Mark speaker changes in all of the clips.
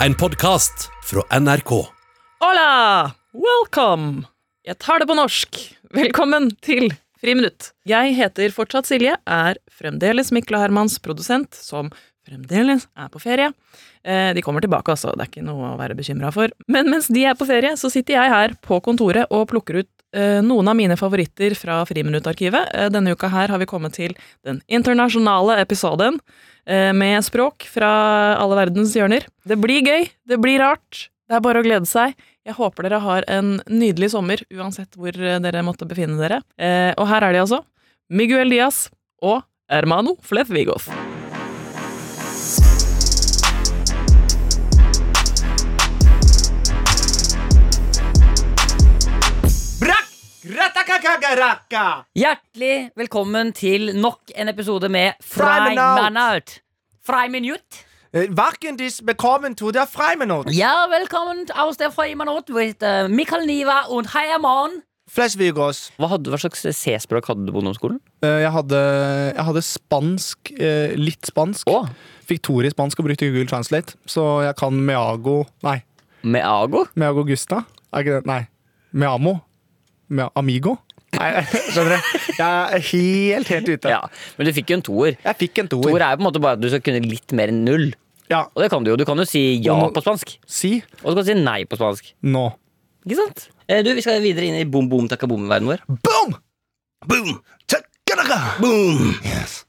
Speaker 1: En podkast fra NRK.
Speaker 2: Hola! Welcome! Jeg tar det på norsk. Velkommen til Friminutt. Jeg heter fortsatt Silje, er fremdeles Mikla Hermans produsent, som fremdeles er på ferie. Eh, De kommer tilbake, altså, det er ikke noe å være bekymra for. Men mens de er på ferie, så sitter jeg her på kontoret og plukker ut eh, noen av mine favoritter fra Friminuttarkivet. Eh, Denne uka her har vi kommet til den internasjonale episoden eh, med språk fra alle verdens hjørner. Det blir gøy, det blir rart. Det er bare å glede seg. Jeg håper dere har en nydelig sommer, uansett hvor eh, dere måtte befinne dere. Eh, og her er de altså. Miguel Diaz og Hermano Flefvigoth.
Speaker 3: Brakk! Ratakakakaraka!
Speaker 4: Hjertelig velkommen til nok en episode med
Speaker 3: Freiminut.
Speaker 4: Freiminut. Freiminut.
Speaker 5: Eh,
Speaker 3: Varken dis bekommen to der Freiminut.
Speaker 4: Ja, velkommen aus der Freiminut with eh, Mikael Niva und Heiamann.
Speaker 3: Flesvigos.
Speaker 6: Hva, hadde, hva slags C-språk hadde du på ungdomsskolen?
Speaker 5: Eh, Jeg hadde, jeg hadde spansk, eh, litt spansk.
Speaker 6: Å,
Speaker 5: Fikk Tor i spansk og brukte Google Translate, så jeg kan Meago Nei,
Speaker 6: Meago?
Speaker 5: Meago Gusta? Er ikke det? Nei. Meamo? Mea, amigo? Nei, skjønner du? Jeg er helt, helt ute.
Speaker 6: Ja, men du fikk jo en toer.
Speaker 5: Jeg fikk en
Speaker 6: Toer
Speaker 5: toer.
Speaker 6: er jo på en måte bare at du skal kunne litt mer enn null.
Speaker 5: Ja,
Speaker 6: Og det kan du jo. Du kan jo si ja
Speaker 5: Og nå-
Speaker 6: på spansk,
Speaker 5: si
Speaker 6: og du kan si nei på spansk.
Speaker 5: nå.
Speaker 6: Ikke sant? Eh, Du, Vi skal videre inn i boom boom takka boom-verdenen vår.
Speaker 3: Boom! Boom! Takaraka! Boom!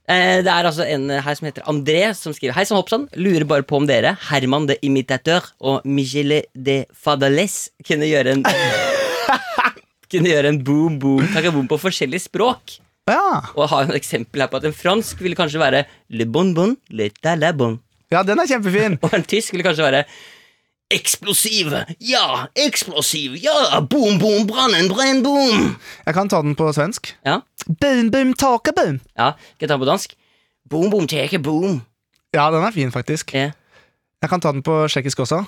Speaker 6: Eh, Det er altså en her som heter André, som skriver Hei sann, hoppsann. Lurer bare på om dere, Herman de Imitateur og Michele de Fadales, kunne gjøre en Kunne gjøre en boom boom takka boom på forskjellige språk.
Speaker 5: Ja.
Speaker 6: Og har et eksempel her på at en fransk ville kanskje være le bon bon, le ta la bon.
Speaker 5: ja, den er kjempefin.
Speaker 6: Og en tysk ville kanskje være eksplosiv, ja, eksplosiv, ja, boom boom, brannen, brenn boom.
Speaker 5: Jeg kan ta den på svensk.
Speaker 6: Ja,
Speaker 5: Boom, boom, taka, boom.
Speaker 6: ja, skal jeg ta den på dansk? Boom boom, teke boom.
Speaker 5: Ja, den er fin, faktisk.
Speaker 6: Ja.
Speaker 5: Jeg kan ta den på tsjekkisk også.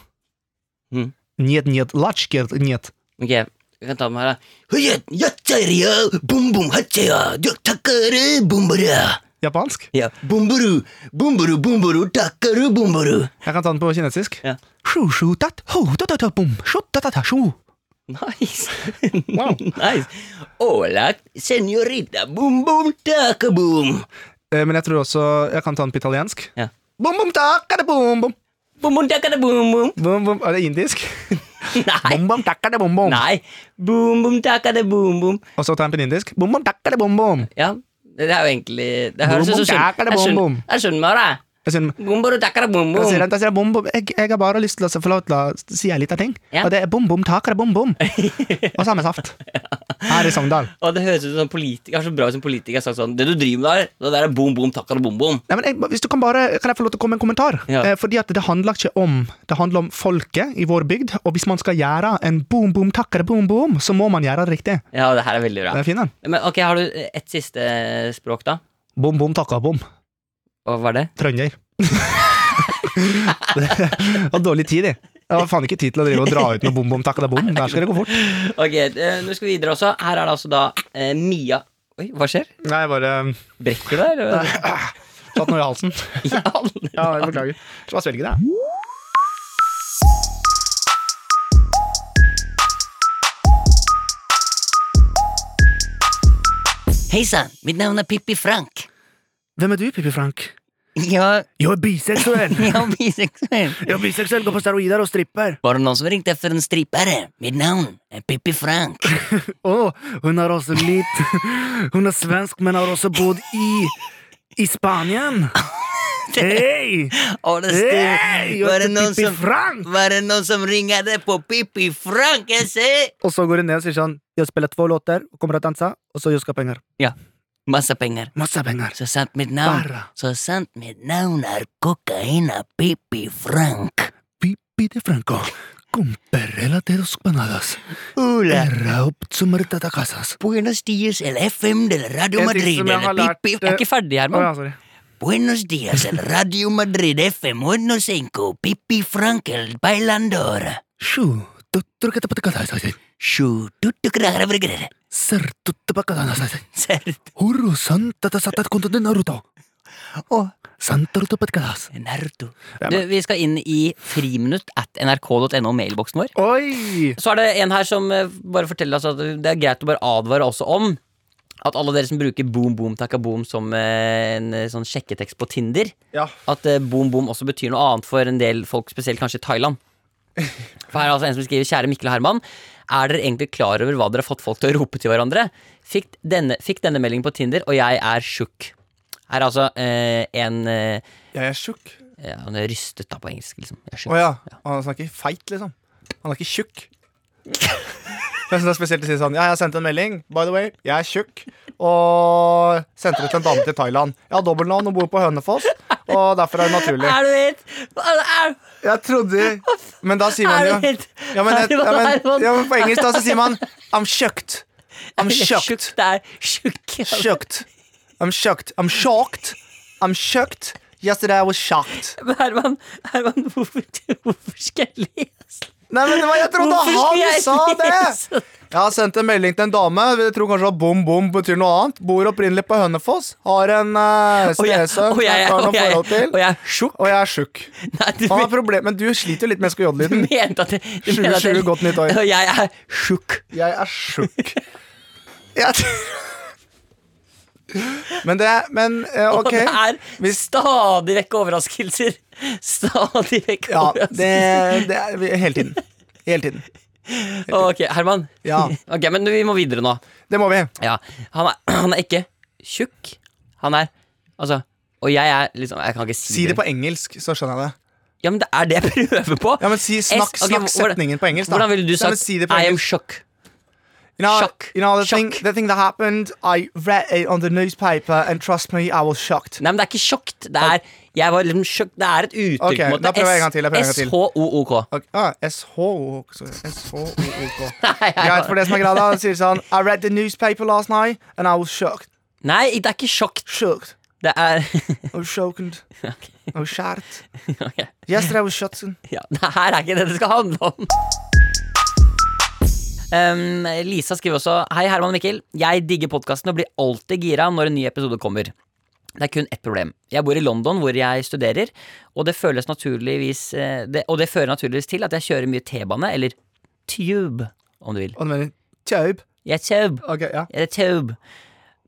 Speaker 6: Mm.
Speaker 5: Njet, njet, latskert, njet.
Speaker 6: Ok, vi kan ta den her da. Høyet, jatteria, boom boom, hatteria, takkare, bombara.
Speaker 5: Japansk.
Speaker 6: Ja, bombaru, bombaru, bombaru, takkare, bombaru.
Speaker 5: Jeg kan ta den på kinesisk.
Speaker 6: Ja.
Speaker 5: Sju, sju, tat, ho, ta, ta, ta, bom, sju, ta, ta, ta, sju.
Speaker 6: Nice. nice. Hola, señorita, boom boom, takke boom.
Speaker 5: Eh, Men jeg tror også jeg kan ta den på italiensk.
Speaker 6: Ja.
Speaker 5: Bom, bom, takkade, bom, bom.
Speaker 6: Boom boom, takke boom boom.
Speaker 5: Bom, bom. Er det indisk?
Speaker 6: Nei.
Speaker 5: Bom, bom, takkade, bom, bom.
Speaker 6: Nei. Boom boom, takke boom boom.
Speaker 5: Og så tar jeg den på indisk. Bom, bom, takkade, bom, bom.
Speaker 6: Ja, det er jo egentlig Det høres
Speaker 5: Boom,
Speaker 6: ut som
Speaker 5: boom, takke det,
Speaker 6: skjønn. Jeg
Speaker 5: boom, boom.
Speaker 6: skjønner- Jeg skjønner meg, da.
Speaker 5: Jeg sier,
Speaker 6: Boom boom, takke boom
Speaker 5: jeg sier,
Speaker 6: boom.
Speaker 5: jeg sier bom, bom. Jeg, jeg har bare lyst til å få lov til å si en liten ting.
Speaker 6: Ja.
Speaker 5: Og det er bom, bom, takkade, bom, bom. Og samme saft. Her i Sogndal.
Speaker 6: Og det høres ut som en politiker er så bra ut som politiker har sagt sånn Det du driver med der, det der er boom boom, takke boom boom.
Speaker 5: Nei, men jeg, hvis du kan bare, kan jeg få lov til å komme med en kommentar?
Speaker 6: Ja.
Speaker 5: Eh, fordi at det handler ikke om Det handler om folket i vår bygd, og hvis man skal gjøre en boom, boom, takkere, boom, boom, så må man gjøre det riktig.
Speaker 6: Ja, det her er veldig
Speaker 5: Den
Speaker 6: bra.
Speaker 5: er fin, den.
Speaker 6: Men ok, har du eh, et siste eh, språk, da?
Speaker 5: Bom, bom, takka, bom.
Speaker 6: Og hva er det?
Speaker 5: Trønder. det var dårlig tid, de. Jeg har faen ikke tid til å drive og dra ut med bom, bom, takkere, bom. Der skal det gå fort.
Speaker 6: Ok, eh, nå skal vi videre også. Her er det altså da eh, Mia Oi, hva skjer?
Speaker 5: Nei, jeg bare
Speaker 6: Brekker du deg, eller?
Speaker 5: satt noe i halsen.
Speaker 6: Ja, alle-
Speaker 5: Ja, jeg beklager. Skal bare svelge det.
Speaker 4: Hei sann, mitt navn er Pippi Frank.
Speaker 5: Hvem er du, Pippi Frank?
Speaker 4: Jeg,
Speaker 5: Jeg er biseksuell.
Speaker 4: jeg er biseksuell.
Speaker 5: Jeg er biseksuell, går på steroider og stripper.
Speaker 4: Var det noen som ringte efter en strippere? Mitt navn er Pippi Frank.
Speaker 5: Å, hun har også litt Hun er svensk, men har også bodd i I Spanien. Hei!
Speaker 4: Og det
Speaker 5: Hei!
Speaker 4: sto Var det noen som
Speaker 5: Frank!
Speaker 4: var det noen som ringte på Pippi Frank? Jeg ser
Speaker 5: Og så går hun ned og sier sånn Jeg spiller to låter, kommer til å danse, og så jeg skal ha penger.
Speaker 4: masse penger.
Speaker 5: Masse penger.
Speaker 4: Så sant mitt navn
Speaker 5: Bare
Speaker 4: Så sant mitt navn er kokaina Pippi Frank.
Speaker 5: pipi de franco. Comperela de dos panadas.
Speaker 4: Hola.
Speaker 5: Erra opp som retatacasas.
Speaker 4: Buenos dias el FM del Radio
Speaker 5: En ting
Speaker 4: Madrid
Speaker 5: som jeg har
Speaker 4: eller
Speaker 5: lært,
Speaker 4: Pippi
Speaker 5: eh,
Speaker 4: Jeg er ikke ferdig, Herman.
Speaker 5: sorry.
Speaker 4: Buenos dias el Radio Madrid FM 105 Pippi Frank el bailandor.
Speaker 5: Sju. Tutturkatapatakatasas.
Speaker 4: Sju tutukragravrigrer.
Speaker 5: Sertutapakatasas.
Speaker 4: Ser
Speaker 5: Horo santatatatat kontoten naruto.
Speaker 4: Å,
Speaker 7: Santer du podcast.
Speaker 6: Naruto. Du, vi skal inn i friminutt at nrk.no, mailboksen vår.
Speaker 7: Oi!
Speaker 6: Så er det en her som eh, bare forteller oss at det er greit å bare advare også om at alle dere som bruker boom, boom, takka boom som eh, en eh, sånn sjekketekst på Tinder,
Speaker 5: Ja.
Speaker 6: at eh, boom, boom også betyr noe annet for en del folk, spesielt kanskje i Thailand. For her er altså en som skriver Kjære Mikkel og Herman. Er dere egentlig klar over hva dere har fått folk til å rope til hverandre? Fikk denne, fikk denne meldingen på Tinder, og jeg er sjuk. Her er altså eh, en eh,
Speaker 5: Jeg er tjukk.
Speaker 6: ja, Han er rystet da på engelsk, liksom. Jeg er sjuk.
Speaker 5: Å ja. Han snakker feit, liksom. Han er ikke tjukk. Jeg synes det er spesielt å si sånn Ja, jeg sendte en melding. By the way, jeg er tjukk. Og sendte det til en dame til Thailand. Jeg har dobbeltnavn og bor på Hønefoss. Og derfor er det naturlig.
Speaker 6: Er du helt Er,
Speaker 5: Jeg trodde Men da sier
Speaker 6: er du
Speaker 5: man jo
Speaker 6: helt
Speaker 5: ja, men,
Speaker 6: Herman,
Speaker 5: ja, men,
Speaker 6: Herman.
Speaker 5: ja, men På engelsk da så sier man I'm shocked. I'm
Speaker 6: Jeg er
Speaker 5: shocked.
Speaker 6: sjuk, Det er sjuk.
Speaker 5: Shocked. I'm shocked. I'm shocked. I'm shocked. Yesterday I was shocked.
Speaker 6: Men Herman, Herman hvorfor, hvorfor skal jeg lese?
Speaker 5: Nei, men det var, jeg trodde
Speaker 6: Hvorfor skal
Speaker 5: han
Speaker 6: jeg sånn?
Speaker 5: sa
Speaker 6: lese
Speaker 5: det! Jeg har sendt en melding til en dame. Jeg tror kanskje at bom bom betyr noe annet. Bor opprinnelig på Hønefoss. Har en uh,
Speaker 6: Og jeg,
Speaker 5: stesønn
Speaker 6: og
Speaker 5: som
Speaker 6: jeg,
Speaker 5: jeg har
Speaker 6: og
Speaker 5: noe
Speaker 6: jeg,
Speaker 5: forhold til.
Speaker 6: og jeg er sjuk.
Speaker 5: Og jeg er tjukk.
Speaker 6: Nei, du
Speaker 5: Han har problem, men du sliter jo litt med SKJ-lyden.
Speaker 6: mente at jeg- du mente at jeg-
Speaker 5: 2020, godt nytt år.
Speaker 6: Og jeg er sjuk.
Speaker 5: Jeg er tjukk. Jeg Men det Men eh,
Speaker 6: Og
Speaker 5: OK.
Speaker 6: det er
Speaker 5: Hvis-
Speaker 6: stadig vekk overraskelser. Stadig vekk
Speaker 5: Ja, det,
Speaker 6: overraskelser.
Speaker 5: det er vi- hele tiden. Hele tiden.
Speaker 6: Ok, Herman.
Speaker 5: Ja.
Speaker 6: Ok, Men vi må videre nå.
Speaker 5: Det må vi.
Speaker 6: Ja, han er, han er ikke tjukk. Han er Altså Og jeg er liksom Jeg kan ikke si,
Speaker 5: Si det på engelsk, så skjønner jeg det.
Speaker 6: Ja, men det er det jeg prøver på.
Speaker 5: Ja, men si, snakk,
Speaker 6: S- ok,
Speaker 5: snakk
Speaker 6: hvordan-
Speaker 5: setningen på engelsk, da.
Speaker 6: Hvordan ville du
Speaker 5: Nei, men
Speaker 6: sagt
Speaker 5: si det på
Speaker 6: I am
Speaker 5: engelsk.
Speaker 6: shock?
Speaker 5: You know,
Speaker 6: shock.
Speaker 5: You know the,
Speaker 6: Shock.
Speaker 5: Thing, the thing that happened, I read it on the newspaper, and trust me, I was shocked.
Speaker 6: Nei, men det er ikke sjokkt. Det er, jeg var liksom sjokk, det er et uttrykk.
Speaker 5: Ok,
Speaker 6: på en måte.
Speaker 5: da prøver jeg en gang til, jeg prøver en gang til.
Speaker 6: S-H-O-O-K.
Speaker 5: Ok, ah, SHOOK. sorry, SHOOK.
Speaker 6: Nei, jeg-
Speaker 5: Greit for det som er greia, da. Sier sånn I read the newspaper last night, and I was shocked.
Speaker 6: Nei, det er ikke sjokkt.
Speaker 5: Shocked.
Speaker 6: Det er
Speaker 5: I was shocked. I was shocked.
Speaker 6: Ok.
Speaker 5: Yesterday I was shocked.
Speaker 6: ja, Det her er ikke det det skal handle om. Um, Lisa skriver også Hei, Herman og Mikkel. Jeg digger podkasten og blir alltid gira når en ny episode kommer. Det er kun ett problem. Jeg bor i London, hvor jeg studerer, og det, føles naturligvis, eh, det, og det fører naturligvis til at jeg kjører mye T-bane, eller tube, om du vil.
Speaker 5: Og du mener Tjaub.
Speaker 6: Jeg tube.
Speaker 5: Ok, ja.
Speaker 6: Jeg er tube.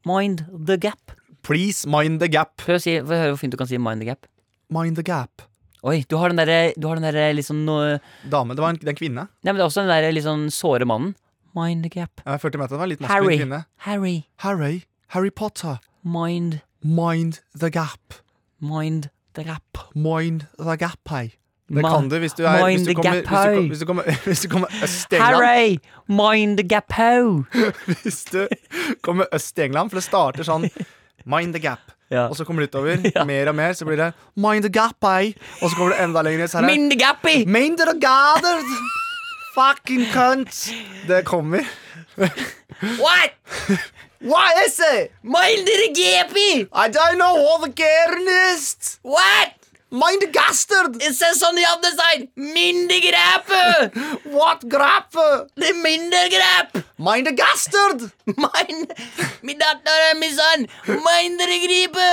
Speaker 6: Mind the gap.
Speaker 5: Please mind the gap.
Speaker 6: Prøv å si, få høre hvor fint du kan si mind the gap.
Speaker 5: Mind the gap.
Speaker 6: Oi, du har den derre du har den derre liksom no, Nei,
Speaker 5: Dame. Det var en, det er en kvinne.
Speaker 6: men det er også den derre litt sånn såre mannen. Mind the gap.
Speaker 5: Jeg følte med at det var en litt maskulin
Speaker 6: Harry.
Speaker 5: kvinne.
Speaker 6: Harry.
Speaker 5: Harry. Harry Potter.
Speaker 6: Mind.
Speaker 5: Mind the gap.
Speaker 6: Mind the gap.
Speaker 5: Mind the gap, hei. Det
Speaker 6: Ma-
Speaker 5: kan du hvis du er
Speaker 6: mind
Speaker 5: hvis du
Speaker 6: the
Speaker 5: kommer,
Speaker 6: gap,
Speaker 5: hvis du,
Speaker 6: hei.
Speaker 5: kom- hvis du kommer, hvis du kommer øst til England
Speaker 6: Harry! Mind the gap ho!
Speaker 5: Hvis du kommer øst til England For det starter sånn Mind the gap
Speaker 6: Ja.
Speaker 5: Og så kommer det utover Mer og mer Så blir det Mind the gap, hei Og så kommer det enda lenger ned så her er-
Speaker 6: Mind the gappy!
Speaker 5: Mind the gap Fucking cunt Det kommer
Speaker 6: What?
Speaker 5: What is it?
Speaker 6: Mind the gappy!
Speaker 5: I don't know what the garen is
Speaker 6: What?
Speaker 5: Mind the gastard
Speaker 6: It says on the other side! Mind the grap!
Speaker 5: What grap
Speaker 6: The mind the grap!
Speaker 5: Mind the gastard
Speaker 6: Mind Min datter og min sønn! Mind the gripe!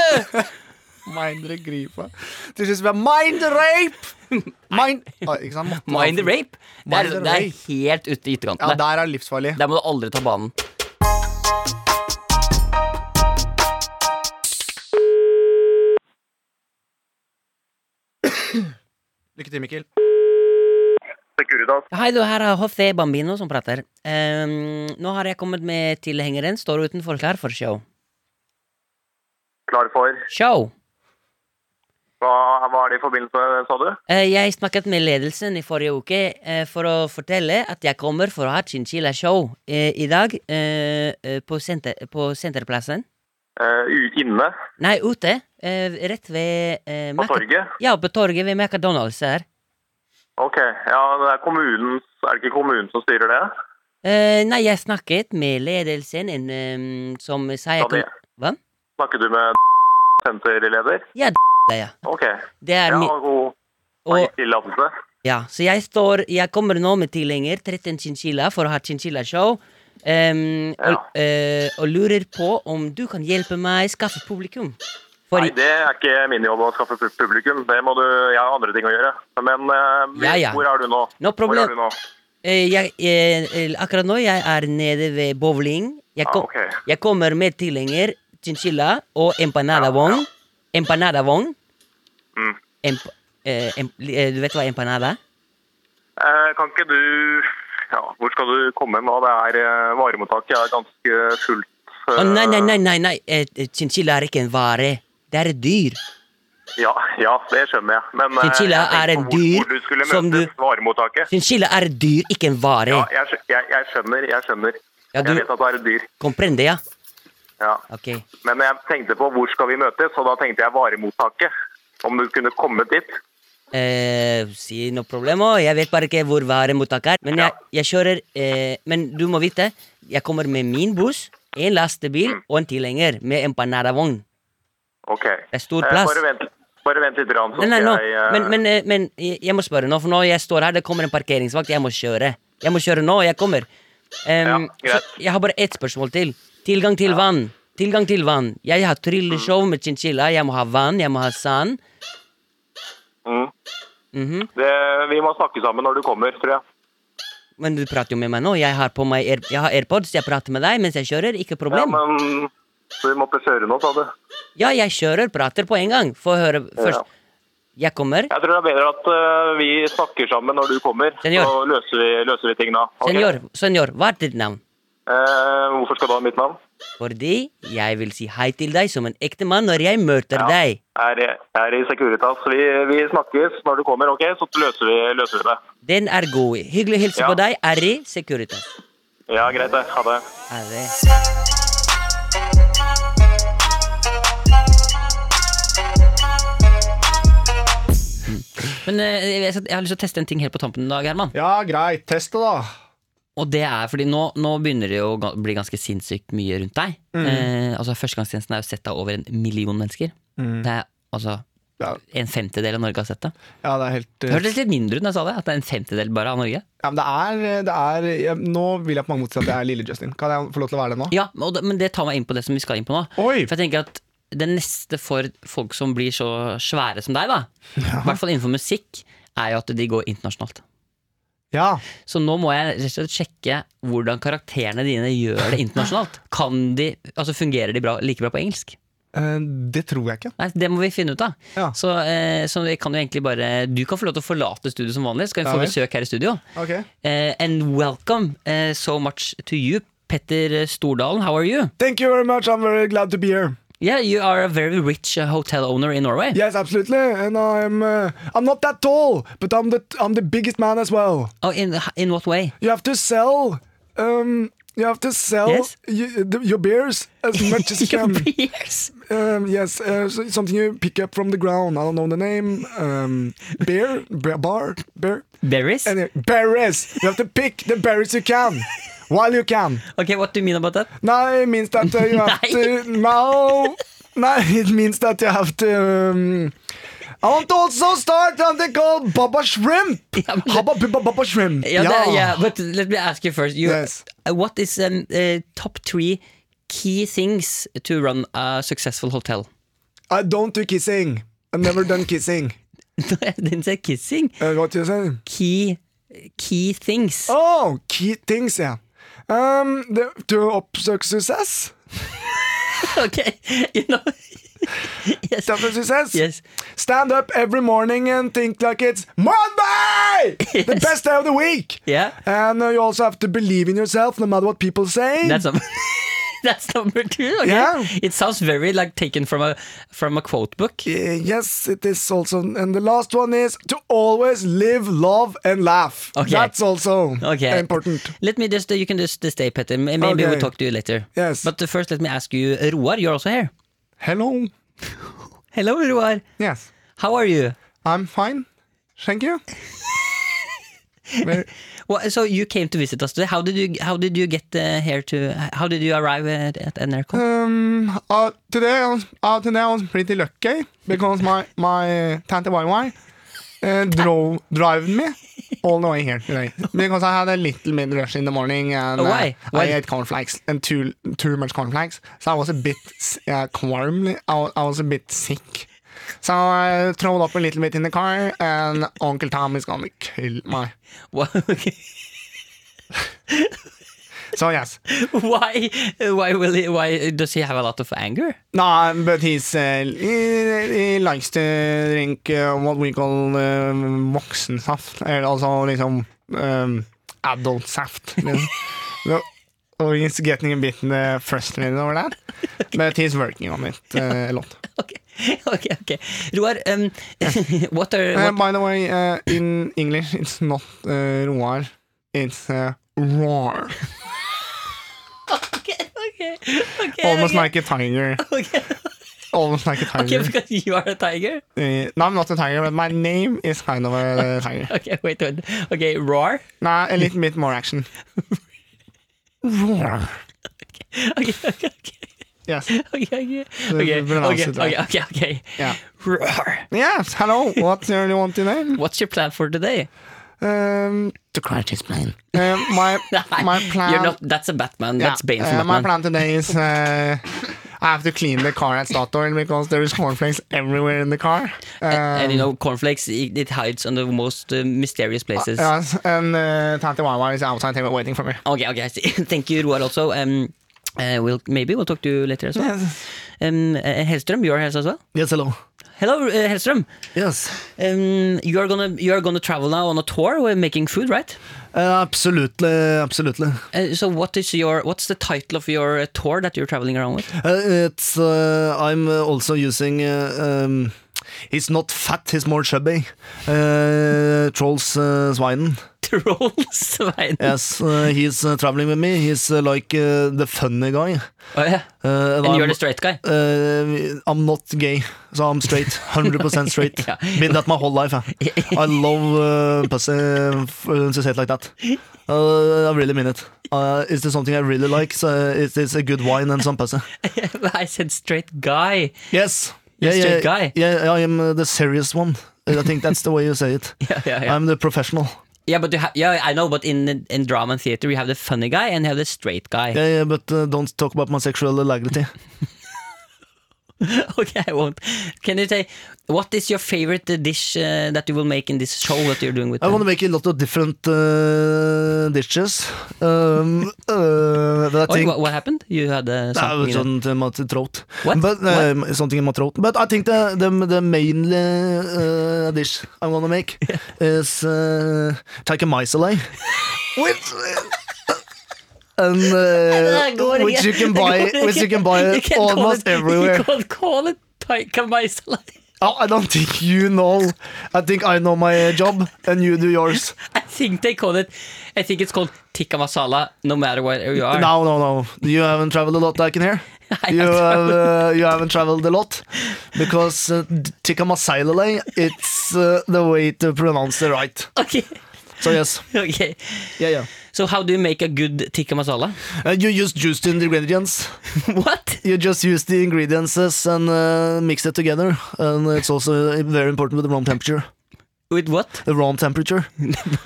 Speaker 5: Mind the gripe Til slutt så blir det Mind the rape Mind Å, Ikke sant? Måtte-
Speaker 6: Mind the rape? Det er,
Speaker 5: Mind the
Speaker 6: det er
Speaker 5: rape.
Speaker 6: helt ute i
Speaker 5: Ja,
Speaker 6: ytterkanten. der.
Speaker 5: der er det livsfarlig.
Speaker 6: Der må du aldri ta banen.
Speaker 5: Lykke til, Mikkel.
Speaker 6: Hei, du, her er HC Bambino som prater. Ehm, nå har jeg kommet med tilhengeren. Står utenfor klar for show.
Speaker 8: Klar for.
Speaker 6: Show!
Speaker 8: Hva var det i forbindelse med, sa du?
Speaker 6: Eh, jeg snakket med ledelsen i forrige uke eh, for å fortelle at jeg kommer for å ha chinchilla-show eh, i dag eh, eh, på, senter, på Senterplassen.
Speaker 8: Eh, u- inne
Speaker 6: Nei, ute. Eh, rett ved eh,
Speaker 8: på
Speaker 6: Mac-
Speaker 8: torget?
Speaker 6: Ja, på torget ved McDonald's her.
Speaker 8: Ok, ja, det er kommunen, er det ikke kommunen som styrer det?
Speaker 6: Eh, nei, jeg snakket med ledelsen en, eh, som sa jeg
Speaker 8: Sa det?
Speaker 6: Hva?
Speaker 8: Snakker du med senterleder?
Speaker 6: Det, ja.
Speaker 8: Ok,
Speaker 6: Det er
Speaker 8: ja,
Speaker 6: mi-
Speaker 8: god
Speaker 6: og-
Speaker 8: og... tillatelse.
Speaker 6: Ja, så jeg står Jeg kommer nå med tilhenger 13 chinchilla for å ha chinchilla-show. ehm, og, eh, og lurer på om du kan hjelpe meg skaffe publikum. For
Speaker 8: Nei, det er ikke min jobb å skaffe pu- publikum. Det må du, Jeg har andre ting å gjøre. Men eh,
Speaker 6: Ja, ja.
Speaker 8: hvor er du nå?
Speaker 6: No
Speaker 8: Hvor
Speaker 6: problem.
Speaker 8: er du nå?
Speaker 6: eh, jeg, eh, akkurat nå jeg er nede ved bowling. Jeg,
Speaker 8: Ah,
Speaker 6: kom,
Speaker 8: ok.
Speaker 6: jeg kommer med tilhenger, chinchilla og empanadavogn. Empanadavogn.
Speaker 8: Mm.
Speaker 6: Emp, eh, em, eh, du vet hva empanada er?
Speaker 8: Eh, kan ikke du ja, Hvor skal du komme nå? Det er eh, Varemottaket er ganske fullt. eh,
Speaker 6: Å, nei, nei, nei, nei, nei. eh, eh, chinchilla er ikke en vare. Det er et dyr.
Speaker 8: Ja, ja, det skjønner jeg. Men eh,
Speaker 6: Chinchilla
Speaker 8: jeg tenkte
Speaker 6: er en
Speaker 8: på hvor-
Speaker 6: dyr
Speaker 8: hvor du skulle
Speaker 6: som
Speaker 8: møtes,
Speaker 6: du-
Speaker 8: Varemottaket.
Speaker 6: Chinchilla er et dyr, ikke en vare.
Speaker 8: Ja, jeg, skj- jeg, jeg skjønner. Jeg skjønner.
Speaker 6: Ja, du-
Speaker 8: Jeg vet at det er et dyr.
Speaker 6: Comprende, ja?
Speaker 8: Ja.
Speaker 6: Ok.
Speaker 8: Men jeg tenkte på hvor skal vi møtes, og da tenkte jeg varemottaket. Om du kunne komme dit.
Speaker 6: Eh, si noe problem også. Jeg vet bare ikke hvor varemottaket er. Men jeg, jeg kjører eh, Men du må vite, jeg kommer med min buss, en lastebil og en tilhenger med empanadavogn.
Speaker 8: Ok.
Speaker 6: Det er stor
Speaker 8: Eh,
Speaker 6: plass.
Speaker 8: Bare vent, bare vent litt, rann, så
Speaker 6: Nei, nei, nå.
Speaker 8: skal jeg eh,
Speaker 6: Men, men, eh, men jeg jeg må spørre nå, for nå jeg står her, det kommer en parkeringsvakt, jeg må kjøre. Jeg må kjøre nå, jeg kommer. Em,
Speaker 8: Ja, greit.
Speaker 6: så jeg har bare ett spørsmål til. Tilgang til vann. Tilgang til vann. Jeg har trylleshow med chinchilla, jeg må ha vann, jeg må ha sand.
Speaker 8: mm.
Speaker 6: Mhm.
Speaker 8: det, Vi må snakke sammen når du kommer, tror jeg.
Speaker 6: Men du prater jo med meg nå. Jeg har på meg Air jeg har AirPods, jeg prater med deg mens jeg kjører. Ikke
Speaker 8: Ja,
Speaker 6: problem.
Speaker 8: men så vi måtte kjøre nå, sa du.
Speaker 6: Ja, jeg kjører, prater på en gang. Få høre først. Jeg kommer.
Speaker 8: Jeg tror det er bedre at eh, vi snakker sammen når du kommer,
Speaker 6: Senor.
Speaker 8: så løser vi, løser vi ting da. ok?
Speaker 6: Senor, senor, hva er ditt navn?
Speaker 8: Eh, hvorfor skal du ha mitt navn?
Speaker 6: Fordi jeg vil si hei til deg som en ekte mann når jeg møter
Speaker 8: Ja.
Speaker 6: deg.
Speaker 8: Jeg er, jeg er i Securitas. Vi, vi snakkes når du kommer, ok? Så løser vi, løser vi det.
Speaker 6: Den er god. Hyggelig å hilse
Speaker 8: Ja.
Speaker 6: på deg, Ari Securitas.
Speaker 8: Ja, greit det. Ha det.
Speaker 6: Ha det.
Speaker 9: Men eh, jeg, skal- jeg har lyst til å teste en ting helt på tampen i dag, Herman.
Speaker 5: Ja, greit. Test det, da.
Speaker 9: Og det er fordi nå, nå begynner det jo å ga- bli ganske sinnssykt mye rundt deg. Eh, altså Førstegangstjenesten er jo sett av over en million mennesker. Det er altså
Speaker 5: Ja.
Speaker 9: en femtedel av Norge har sett det.
Speaker 5: Ja, det er helt eh,
Speaker 9: Det hørtes litt mindre ut når jeg sa det. At det er en femtedel bare av Norge.
Speaker 5: ja, men det er, eh, det er jeg, Nå vil jeg på mange måter si at jeg er lille Justin. Kan jeg få lov til å være det nå?
Speaker 9: Ja, men- og det, Men det tar meg inn på det som vi skal inn på nå.
Speaker 5: Oi!
Speaker 9: For jeg tenker at det neste for folk som blir så svære som deg, da, i hvert fall innenfor musikk, er jo at de går internasjonalt.
Speaker 5: Ja.
Speaker 9: Så nå må jeg rett og slett sjekke hvordan karakterene dine gjør det internasjonalt. Kan de, altså Fungerer de bra, like bra på engelsk?
Speaker 5: eh, det tror jeg ikke.
Speaker 9: Nei, Det må vi finne ut av.
Speaker 5: Ja.
Speaker 9: Så, eh, så vi kan jo egentlig bare Du kan få lov til å forlate studio som vanlig, så kan vi
Speaker 5: Ja
Speaker 9: få
Speaker 5: vel.
Speaker 9: besøk her i studio.
Speaker 5: Ok.
Speaker 9: Eh, and welcome eh, so much to you, Petter Stordalen. How are you?
Speaker 5: Thank you very much. I'm very glad to be here.
Speaker 9: Yeah, you are a very rich uh, hotel owner in Norway.
Speaker 5: Yes, absolutely. And I'm uh, I'm not that tall, but I'm the I'm the biggest man as well.
Speaker 9: Oh, in, in what way?
Speaker 5: You have to sell. Um, you have to sell
Speaker 9: Yes?
Speaker 5: y- the, your beers as much as you
Speaker 9: Your
Speaker 5: can.
Speaker 9: beers.
Speaker 5: Um, yes, uh, so- something you pick up from the ground. I don't know the name. Um, beer, b- bar, beer.
Speaker 9: Berries?
Speaker 5: Anyway, berries. You have to pick the berries you can while you can.
Speaker 9: Okay, what do you mean about that?
Speaker 5: No, it means that uh, you have to. No, no, it means that you have to. Um, I want to also start something called Baba Shrimp.
Speaker 9: Ja, men-
Speaker 5: Habba Bubba Baba Shrimp.
Speaker 9: Yeah, that- yeah, but let me ask you first. You,
Speaker 5: Yes.
Speaker 9: uh, what is um, uh, top three key things to run a successful hotel?
Speaker 5: I don't do kissing. I've never done kissing.
Speaker 9: I didn't say kissing.
Speaker 5: Uh, what do you say?
Speaker 9: Key, key things.
Speaker 5: Oh, key things, yeah. Um, the, to oppsøke success.
Speaker 9: Okay, you know. yes.
Speaker 5: Oppsøke success.
Speaker 9: Yes.
Speaker 5: Stand up every morning and think like it's Monday, the
Speaker 9: Yes.
Speaker 5: best day of the week.
Speaker 9: Yeah.
Speaker 5: And uh, you also have to believe in yourself, no matter what people say.
Speaker 9: That's number. That's number two. Okay.
Speaker 5: Yeah.
Speaker 9: It sounds very like taken from a from a quote book.
Speaker 5: Uh, yes, it is also. And the last one is to always live, love, and laugh.
Speaker 9: Okay.
Speaker 5: That's also
Speaker 9: Okay.
Speaker 5: important.
Speaker 9: Let me just uh, you can just stay, Petter. Maybe we'll
Speaker 5: Okay.
Speaker 9: talk to you later.
Speaker 5: Yes.
Speaker 9: But uh, first, let me ask you, uh, Roar. You're also here.
Speaker 5: Hello.
Speaker 9: Hello, Roar.
Speaker 5: Yes,
Speaker 9: How are you?
Speaker 5: I'm fine. Thank you. Very-
Speaker 9: Well, so you came to visit us today. How did you How did you get uh, here to How did you arrive at, at NRK?
Speaker 5: Um, uh, today, I was, uh, today I was pretty
Speaker 10: eh,
Speaker 5: lucky because my my tante YY uh, drove driven me
Speaker 10: all the way here today. Because I had a little bit rush in the morning and uh,
Speaker 6: Oh, Why? Why-
Speaker 10: I ate cornflakes and too, too much cornflakes. So I was a bit uh, quirmly. I, wa- I was a bit sick. So I thrown up a little bit in the car, and Uncle Tom is gonna kill me.
Speaker 6: Why,
Speaker 10: So yes,
Speaker 6: why, why, will he, why does he have a lot of anger?
Speaker 10: no, but he's uh, he, he likes to drink uh, what we call uh, voksensaft, eller altså liksom um, adult saft. Liksom. No, Og he's getting a bit uh, frustrated over that, but he's working on it uh, a lot.
Speaker 6: Ok, ok, ok Roar, um, what are
Speaker 10: Uh,
Speaker 6: what,
Speaker 10: by the way, uh, in English, it's not uh, roar, it's uh, roar.
Speaker 6: okay, okay,
Speaker 10: Almost
Speaker 6: okay,
Speaker 10: like a tiger.
Speaker 6: okay.
Speaker 10: Almost like a tiger.
Speaker 6: Okay, because you are a tiger.
Speaker 10: Uh, no, I'm not a tiger, but my name is kind of a tiger.
Speaker 6: Okay, wait, wait. Okay, roar.
Speaker 10: Nah, a little bit more action. Roar.
Speaker 6: Okay, okay, okay,
Speaker 10: Yes.
Speaker 6: okay, okay,
Speaker 10: we
Speaker 6: okay,
Speaker 10: pronounce
Speaker 6: okay,
Speaker 10: it right.
Speaker 6: okay, okay, okay.
Speaker 10: Yeah.
Speaker 6: Roar.
Speaker 10: Yes. Hello. What do you want to name?
Speaker 6: What's your plan for today?
Speaker 10: Um,
Speaker 11: The crutch is plain.
Speaker 10: uh, my my plan.
Speaker 6: You're not. That's a Batman.
Speaker 10: Yeah,
Speaker 6: That's Bane from
Speaker 10: uh, my
Speaker 6: Batman.
Speaker 10: plan today is uh, I have to clean the car at Statoil because there is cornflakes everywhere in the car.
Speaker 6: and, and you
Speaker 10: Um,
Speaker 6: know, cornflakes it, it hides on the most uh, mysterious places.
Speaker 10: Yes, and uh, Tante Wawa is outside table waiting for me.
Speaker 6: okay, okay, I see. Thank you, Roar. Also, um, uh, we'll maybe we'll talk to you later as well. Um, uh, Hellström, you're here as well.
Speaker 5: Yes, hello.
Speaker 6: Hello, uh, Hellström.
Speaker 5: Yes.
Speaker 6: Um, you are gonna you are gonna travel now on a tour. We're making food, right?
Speaker 5: Uh, absolutely, absolutely.
Speaker 6: Uh, so what is your what's the title of your uh, tour that you're traveling around with?
Speaker 5: Uh, it's uh, I'm uh, also using. Uh, um, he's not fat. He's more chubby. Uh, Trolls uh, Swinen.
Speaker 6: Troll Svein.
Speaker 5: Yes, uh, he's uh, traveling with me. He's uh, like uh, the funny guy.
Speaker 6: Oh, yeah.
Speaker 5: Uh,
Speaker 6: And you're
Speaker 5: I'm-
Speaker 6: the straight guy.
Speaker 5: Uh, I'm not gay, so I'm straight. 100% straight.
Speaker 6: Yeah.
Speaker 5: Been that my whole life. eh. I love uh, pussy, uh, to say it like that. Uh, I really mean it. Uh, is there something I really like? So it is a good wine and some pussy.
Speaker 6: I said straight guy.
Speaker 5: Yes.
Speaker 6: You're a straight guy.
Speaker 5: Yeah, I am uh, the serious one. I think that's the way you say it.
Speaker 6: Yeah, yeah, yeah.
Speaker 5: I'm the professional.
Speaker 6: yeah, but you ha- yeah, I know. But in in drama and theater, you have the funny guy and you have the straight guy.
Speaker 5: Yeah, yeah, but uh, don't talk about my sexual alacrity.
Speaker 6: okay, I won't. Can you say what is your favorite uh, dish uh, that you will make in this show that you're doing with?
Speaker 5: I
Speaker 6: them?
Speaker 5: want to make a lot of different uh, dishes. Um, uh, that I
Speaker 6: Oi,
Speaker 5: think
Speaker 6: what, what happened? You had uh,
Speaker 5: That
Speaker 6: something.
Speaker 5: was
Speaker 6: in
Speaker 5: sånn
Speaker 6: it.
Speaker 5: til mat throat.
Speaker 6: What?
Speaker 5: But, uh, Something in my throat. But I think the, the, the main uh, dish I'm gonna make is uh, take a micelay. With, eh, and,
Speaker 6: Det
Speaker 5: uh,
Speaker 6: går
Speaker 5: which
Speaker 6: ikke.
Speaker 5: you can buy,
Speaker 6: Det går
Speaker 5: which you
Speaker 6: ikke.
Speaker 5: can buy
Speaker 6: You can't call
Speaker 5: almost
Speaker 6: it-
Speaker 5: everywhere.
Speaker 6: You can't call it Taika Maisala.
Speaker 5: Oh, I don't think you know. I think I know my job, and you do yours.
Speaker 6: I think they call it I think it's called Tikka Masala no matter where you are.
Speaker 5: No, no, no. You haven't traveled a lot, I can hear.
Speaker 6: I
Speaker 5: You,
Speaker 6: have
Speaker 5: have, uh, you haven't traveled a lot because uh, tikka masala, it's uh, the way to pronounce it right.
Speaker 6: Okay.
Speaker 5: So, yes.
Speaker 6: okay.
Speaker 5: Yeah, yeah.
Speaker 6: So how do you make a good Tikka Masala?
Speaker 5: Uh, you just use the ingredients.
Speaker 6: what?
Speaker 5: You just use the ingredients and uh, mix it together. And it's also very important with the wrong temperature.
Speaker 6: With what?
Speaker 5: The wrong temperature.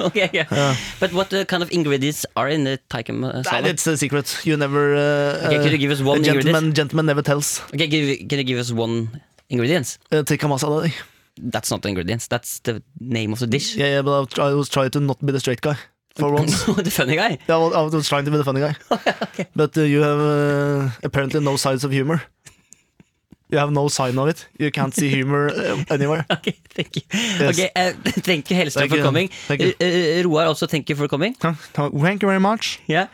Speaker 6: Okay, yeah. But what uh, kind of ingredients are in the Tikka
Speaker 5: That,
Speaker 6: Masala?
Speaker 5: it's a secret. You never. Uh,
Speaker 6: okay,
Speaker 5: uh,
Speaker 6: can you give us one
Speaker 5: a
Speaker 6: ingredient?
Speaker 5: gentleman, gentleman never tells.
Speaker 6: Okay, give, can you give us one ingredients?
Speaker 5: Uh, tikka masala.
Speaker 6: That's not the ingredients. That's the name of the dish.
Speaker 5: Yeah, yeah, but I was, try- I was trying to not be the straight guy for once.
Speaker 6: the funny guy.
Speaker 5: Yeah, well, I was trying to be the funny guy. But uh, you have uh, apparently no signs of humor. You have no sign of it. You can't see humor uh, anywhere.
Speaker 6: Okay, thank you. Okay, uh, thank you, Hellstrøm,
Speaker 5: Thank
Speaker 6: for
Speaker 5: you.
Speaker 6: coming.
Speaker 5: Thank you.
Speaker 6: Uh, Roar, also thank you for coming.
Speaker 10: Thank you very much.
Speaker 6: Yeah,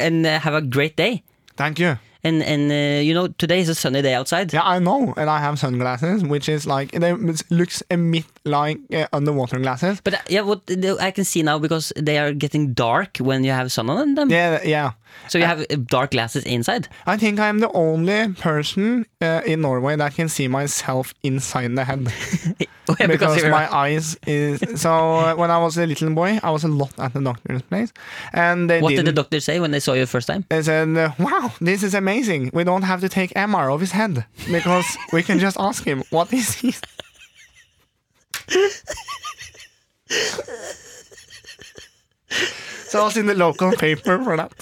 Speaker 6: and uh, have a great day.
Speaker 10: Thank you.
Speaker 6: And and uh, you know today is a sunny day outside.
Speaker 10: Yeah, I know, and I have sunglasses, which is like they looks a bit like uh, underwater glasses.
Speaker 6: But uh, yeah, what the- I can see now because they are getting dark when you have sun on them.
Speaker 10: Yeah, yeah.
Speaker 6: So you have uh, dark glasses inside.
Speaker 10: I think I am the only person uh, in Norway that can see myself inside the head
Speaker 6: Oh, yeah,
Speaker 10: because
Speaker 6: you're-
Speaker 10: my eyes is so. Uh, when I was a little boy, I was a lot at the doctor's place, and they
Speaker 6: what did
Speaker 10: didn't.
Speaker 6: the doctor say when they saw you first time?
Speaker 10: they said, uh, "Wow, this is amazing. We don't have to take MR of his head because we can just ask him what is he."
Speaker 5: So I was in the local paper for that.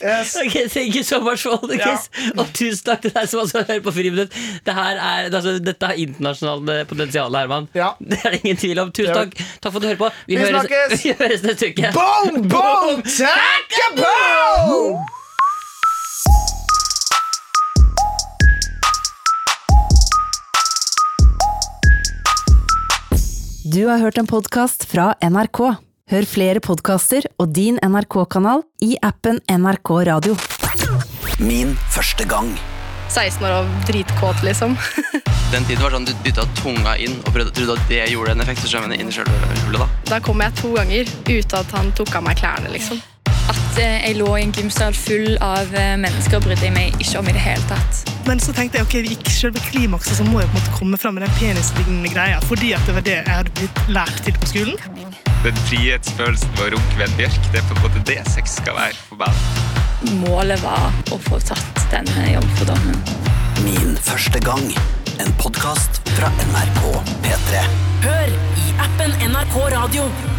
Speaker 5: Yes.
Speaker 6: Ok, thank you so much for all the kiss. Og tusen takk til deg som også hører på Friminutt. Det her er, altså, dette har internasjonalt eh, potensial, Herman.
Speaker 5: Ja.
Speaker 6: Det er det ingen tvil om. Tusen
Speaker 5: Ja.
Speaker 6: takk. Takk for at du hører på.
Speaker 5: Vi snakkes.
Speaker 6: vi høres neste uke.
Speaker 5: Boom, boom, tackaboom!
Speaker 12: Du har hørt en podkast fra NRK. Hør flere podkaster og din NRK-kanal i appen NRK Radio.
Speaker 1: Min første gang.
Speaker 13: 16 år og dritkåt, liksom.
Speaker 14: Den tiden var sånn du dytta tunga inn og prøvde, trodde at det gjorde en effekt. Så skjønner jeg inn i selve hullet da.
Speaker 13: Da kom jeg to ganger uten at han tok av meg klærne, liksom.
Speaker 4: At eh, jeg lå i en gymsal full av eh, mennesker brydde jeg meg ikke om i det hele tatt.
Speaker 15: Men så tenkte jeg ok, ikke selve klimakset, så må jeg på en måte komme fram med den penislignende greia. Fordi at det var det jeg hadde blitt lært til på skolen.
Speaker 16: Den frihetsfølelsen ved å runke ved en bjørk, det er på en måte det sex skal være for meg.
Speaker 4: Målet var å få tatt denne jomfrudommen.
Speaker 1: Min første gang. En podkast fra NRK P3.
Speaker 17: Hør i appen NRK Radio.